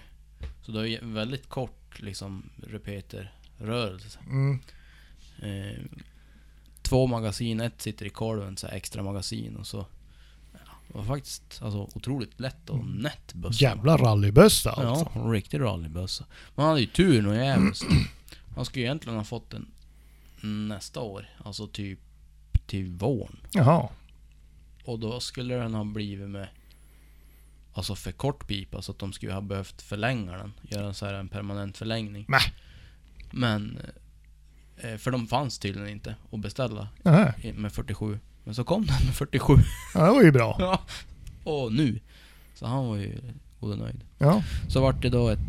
S1: Så det är ju väldigt kort kort liksom repeterrörelse.
S2: Mm.
S1: Eh, två magasin, ett sitter i kolven, så här extra magasin och så. Ja, det var faktiskt alltså, otroligt lätt och nätt bössa.
S2: Jävla rallybössa Mm. alltså.
S1: Ja, en riktig rallybössa. Man hade ju tur nog jävligt. Man skulle ju egentligen ha fått den nästa år, alltså typ till våren.
S2: Jaha.
S1: Och då skulle den ha blivit med Alltså för kort pipa så att de skulle ha behövt förlänga den. Göra så här en permanent förlängning.
S2: Mäh.
S1: Men eh, För de fanns tydligen inte att beställa
S2: Nähä.
S1: i- med 47. Men så kom den med 47.
S2: Ja, det var ju bra.
S1: Ja. Och nu. Så han var ju både nöjd.
S2: Ja.
S1: Så vart det då ett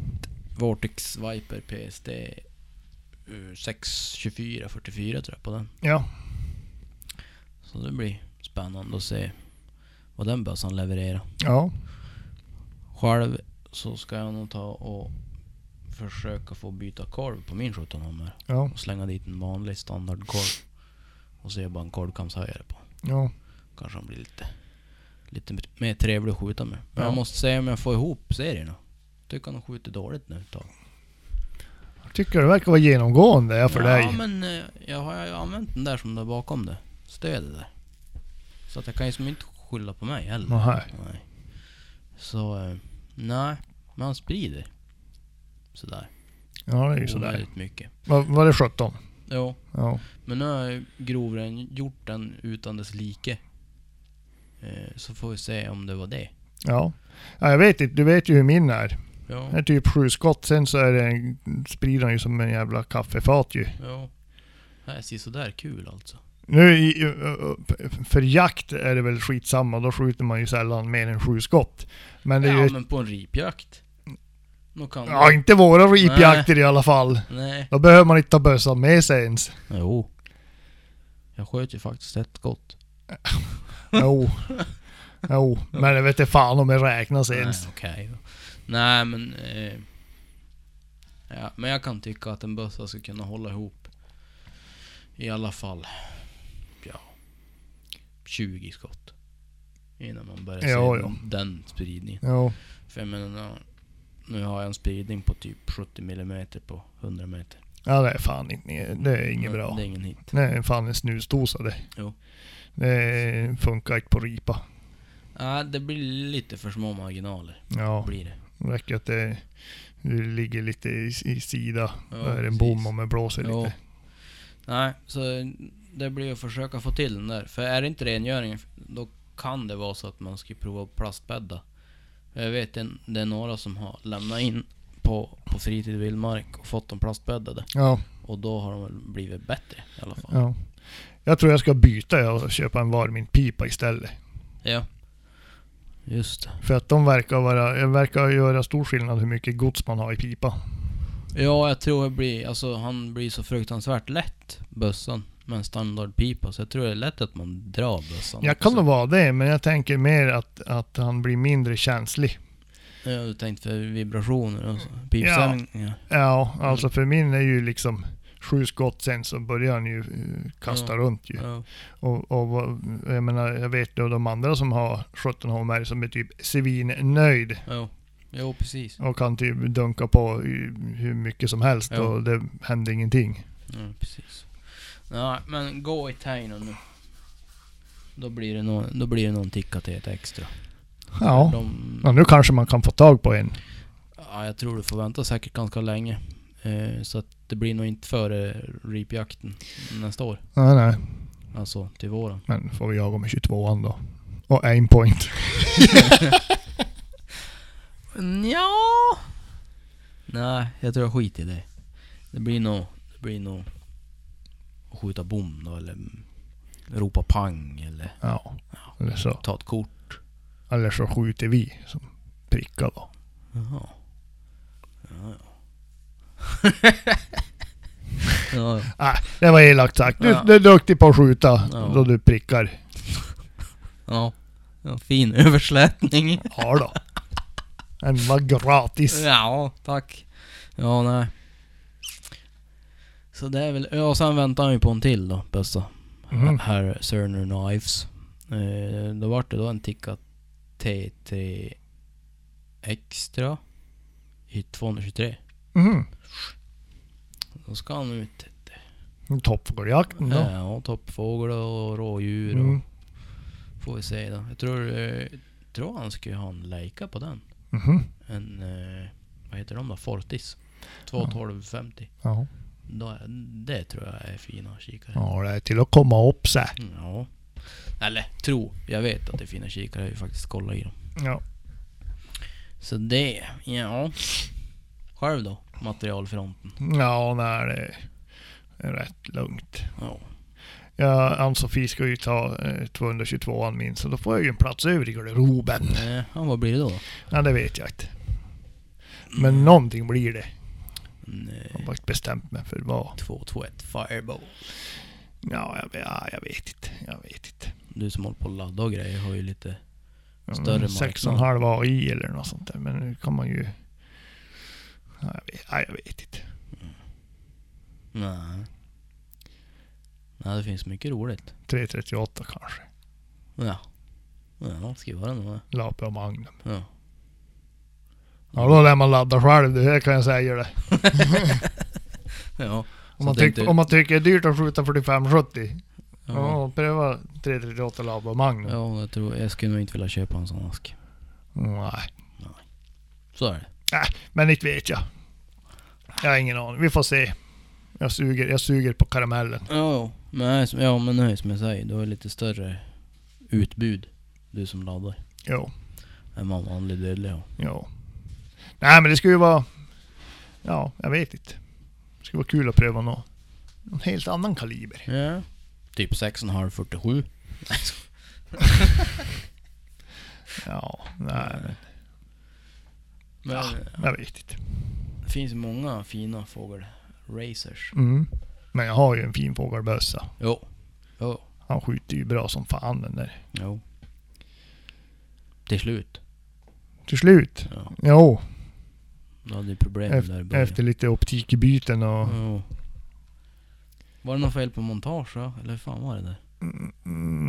S1: Vortex Viper PSD 62444 tror jag på den.
S2: Ja.
S1: Så det blir spännande att se vad den bössan levererar.
S2: Ja.
S1: Själv så ska jag nog ta och försöka få byta korv på min 17 nummer
S2: Ja.
S1: och slänga dit en vanlig standardkorv. Och se bara en korvkamshöjare på.
S2: Ja.
S1: Kanske han blir lite, lite mer trevlig att skjuta med. Men
S2: Ja.
S1: jag måste säga om jag får ihop serierna. Tycker han skjuter dåligt nu ett tag.
S2: Jag tycker det verkar vara genomgående ja, för
S1: ja,
S2: dig.
S1: men eh, jag har ju använt den där som det är bakom det. Stödet där. Så att jag kan ju som inte skylla på mig heller.
S2: Nähä.
S1: Nej. Så, eh, nej. Men han sprider. Sådär.
S2: Ja, det är ju sådär.
S1: Onödigt mycket.
S2: Var, var det 17?
S1: Jo.
S2: Ja.
S1: Men nu har jag ju grovren gjort den utan dess like. Eh, Så får vi se om det var det.
S2: Ja. ja. Jag vet inte, du vet ju hur min är.
S1: Ja.
S2: Det är typ sju skott, sen så är det en, sprider den ju som en jävla kaffefat ju.
S1: Ja. Det här ser sådär kul alltså.
S2: Nu i- i- för jakt är det väl skitsamma, då skjuter man ju sällan mer än sju skott. Men det är
S1: Ja
S2: ju...
S1: men på en ripjakt. Nog kan
S2: Ja, inte våra ripjakter i alla fall.
S1: Nej.
S2: Då behöver man inte ta bössan med sig ens.
S1: Jo. Jag sköt ju faktiskt ett skott.
S2: Jo. Jo, men jag vet inte fan om det räknas ens.
S1: Nej, okej. Nej men... Eh, ja, men jag kan tycka att en bössa ska kunna hålla ihop. I alla fall... Ja. 20 skott. Innan man börjar se
S2: Ja,
S1: den- den spridningen.
S2: Jo.
S1: För jag menar, nu- nu har jag en spridning på typ 70 mm på 100 meter.
S2: Ja, det är fan inte, det är inget
S1: Men
S2: bra.
S1: Det är ingen hit.
S2: Det är fan en snusdosa det.
S1: Jo.
S2: Det funkar inte på ripa.
S1: Ja, det blir lite för små marginaler.
S2: Ja,
S1: Blir det.
S2: det räcker att det, det ligger lite i, i sida.
S1: Ja,
S2: Då är det
S1: precis.
S2: en bom om det blåser
S1: Jo.
S2: lite.
S1: Nej, så det blir att försöka få till den där. För är det inte rengöring, då kan det vara så att man ska prova att plastbädda. Jag vet det, det är några som har lämnat in på, på fritid och vildmark och fått dem plastbäddade.
S2: Ja,
S1: Och då har de väl blivit bättre i alla fall.
S2: ja. Jag tror jag ska byta och köpa en varminpipa istället.
S1: Ja. Just det.
S2: För att de verkar, vara, det verkar göra stor skillnad hur mycket gods man har i pipa.
S1: Ja, jag tror jag blir, alltså han blir så fruktansvärt lätt, bössan. Med en standardpipa, så jag tror det är lätt att man drar bössan.
S2: Jag kan
S1: Så-
S2: nog vara det, men jag tänker mer att, att han blir mindre känslig.
S1: Ja, du tänkte för vibrationer och så. Pipstämningar.
S2: Ja,
S1: Mm.
S2: alltså för min är ju liksom sju skott sen så börjar han ju eh, kasta
S1: Ja.
S2: runt ju.
S1: Ja.
S2: Och, och vad- jag menar, jag vet ju de andra som har 17 HMR som är typ svinnöjd
S1: Ja. Jo, precis.
S2: och kan typ dunka på i- hur mycket som helst
S1: Ja.
S2: och det händer ingenting.
S1: Ja, precis. Ja, men gå i Taino nu. Då blir det någon, då blir det någon tickatet extra.
S2: Ja.
S1: De,
S2: ja, nu kanske man kan få tag på en.
S1: ja, jag tror du får vänta säkert ganska länge. Eh, så att det blir nog inte före ripjakten nästa år.
S2: Nej, nej.
S1: Alltså till våren.
S2: Men får vi jaga med 22an då. Och aim point.
S1: Ja. Nej, jag tror jag skiter i det. Det blir nog... Det blir nog... att Skjuta bom då eller ropa pang eller
S2: Ja. Eller så,
S1: ta ett kort.
S2: eller så skjuter vi som prickar då.
S1: Jaha. Ja, ja. ja, ja.
S2: Nej, det var elakt sagt. Du,
S1: Ja.
S2: du är duktig på att skjuta
S1: Ja.
S2: då du prickar.
S1: ja. ja. Fin överslätning.
S2: Ja då. Den var gratis.
S1: Ja, tack. Ja, nej. Så det är väl... Ja, och sen väntar han ju på en till då, bästa.
S2: Mhm.
S1: Herr Cerner Knives. Eh, då vart det då en ticka T3 Extra i 223.
S2: Mhm.
S1: Då ska han ut. Eh,
S2: Toppfågeljakten Mm, då.
S1: Ja, toppfågel och rådjur och
S2: Mm.
S1: får vi se då. Jag tror, eh, tror han skulle ha en lejka på den.
S2: Mhm.
S1: En, eh, vad heter de då? Fortis. 21250.
S2: Ja.
S1: Då, det tror jag är fina kikare.
S2: ja, det är till att komma upp sig.
S1: Mm, Ja. Eller tro. Jag vet att det är fina kikare. Jag har ju faktiskt kollat i dem.
S2: Ja.
S1: Så det, ja. Själv då? Materialfronten.
S2: ja, nej det är rätt lugnt.
S1: Ja.
S2: Ja, Ann-Sofie ska ju ta eh, 222 min, så då får jag ju en plats över i garderoben.
S1: Eh, ja, vad blir det då?
S2: Ja, det vet jag inte. Men någonting blir det. Jag
S1: Nej.
S2: har faktiskt bestämt mig för vad.
S1: 221 Fireball.
S2: Ja, jag, ja, jag vet inte. Jag vet inte.
S1: Du som håller på att ladda och grejer har ju lite...
S2: Ja,
S1: Större
S2: men
S1: marknad.
S2: sex och en halv AI eller något sånt där. Men nu kan man ju... Ja, jag vet, ja, jag vet inte.
S1: Nej. Nej, det finns mycket roligt.
S2: 338 kanske.
S1: Ja. Ja, skriv den då.
S2: Lape och Magnum.
S1: Ja.
S2: Ja, då lär man ladda själv. Det här kan jag säga det.
S1: Ja. Så
S2: Om man,
S1: det är
S2: tyck,
S1: inte-
S2: om man tycker det är dyrt att skjuta 45-70.
S1: Ja.
S2: Ja, pröva 338 Lape och Magnum.
S1: Ja, jag tror... Jag skulle nog inte vilja köpa en sån ask.
S2: Nej.
S1: Så är det.
S2: Men inte vet jag. Jag har ingen aning. Vi får se. Jag suger, jag suger på karamellen.
S1: Ja, men, ja, men nej, som jag säger, du har lite större utbud, du som laddar,
S2: Jo,
S1: än vad en vanlig dödlig har.
S2: jo. Nej men det skulle ju vara... Ja, jag vet inte. Det skulle vara kul att pröva något. Någon helt annan kaliber.
S1: Ja. Typ 6,5 47.
S2: Ja, nej men
S1: Men
S2: jag vet inte.
S1: det finns ju många fina fågelracers.
S2: Mm. Men jag har ju en fin fågelbössa.
S1: Jo. Jo.
S2: Han skjuter ju bra som fan den där.
S1: Jo. Till slut.
S2: Till slut.
S1: Ja.
S2: Jo,
S1: Du hade ju problem
S2: Ef-
S1: där i början.
S2: efter lite optikbyten och...
S1: Jo. Var det något fel på montage då? Eller hur fan var det där?
S2: Mm,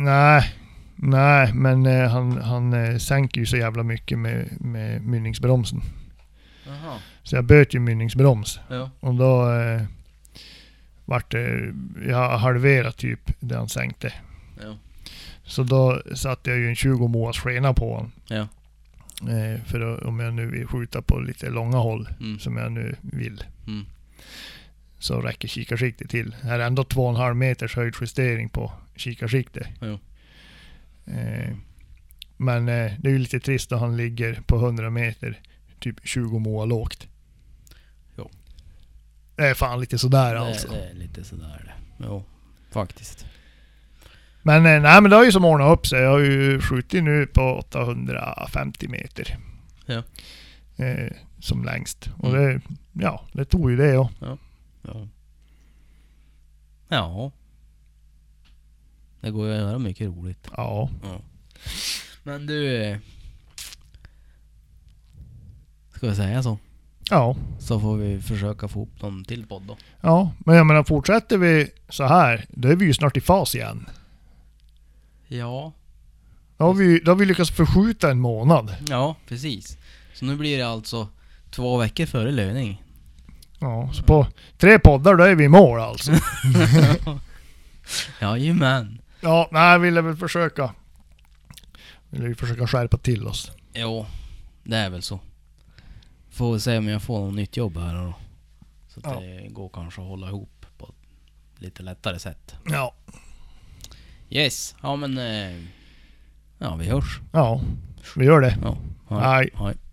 S2: Nej, nej, men eh, han, han eh, sänker ju så jävla mycket med, med mynningsbromsen.
S1: Jaha.
S2: Så jag böt ju mynningsbroms
S1: Ja.
S2: och då eh, vart det, jag halverade typ det han sänkte.
S1: Ja.
S2: Så då satte jag ju en 20 månaders skena på honom.
S1: Ja.
S2: Eh, för då, om jag nu vill skjuta på lite långa håll,
S1: Mm.
S2: som jag nu vill,
S1: Mm.
S2: så räcker kikarsiktet till. Här är ändå 2,5 meters höjdjustering på kikarsiktet.
S1: Jo.
S2: Eh, men eh, det är ju lite trist att han ligger på 100 meter, typ 20 mål lågt.
S1: Jo.
S2: Det är fan lite sådär
S1: det,
S2: alltså.
S1: det är lite sådär det. Jo. Faktiskt.
S2: Men eh, nej men det har ju som ordnat upp sig. Jag har ju skjutit nu på 850 meter.
S1: Ja.
S2: Eh, som längst. Och
S1: Mm.
S2: det, ja, det tog ju det ja.
S1: Ja. Ja. Det går ju att göra mycket roligt.
S2: Ja.
S1: Men du... eh, Ska vi säga så?
S2: Ja.
S1: Så får vi försöka få ihop någon till podd då.
S2: Ja, men jag menar fortsätter vi så här, då är vi ju snart i fas igen.
S1: Ja.
S2: Då har vi, då har vi lyckats förskjuta en månad.
S1: Ja, precis. Så nu blir det alltså två veckor före löning.
S2: Ja, så på tre poddar då är vi i mål alltså.
S1: Jajamän.
S2: Ja, nej, jag ville väl försöka. Ville ju försöka skärpa till oss.
S1: Jo, det är väl så. Får vi se om jag får något nytt jobb här då. Så att
S2: Ja.
S1: det går kanske att hålla ihop på ett lite lättare sätt.
S2: Ja.
S1: Yes, ja men... Eh, ja, vi hörs.
S2: Ja, vi gör det.
S1: Ja,
S2: Hej.
S1: hej.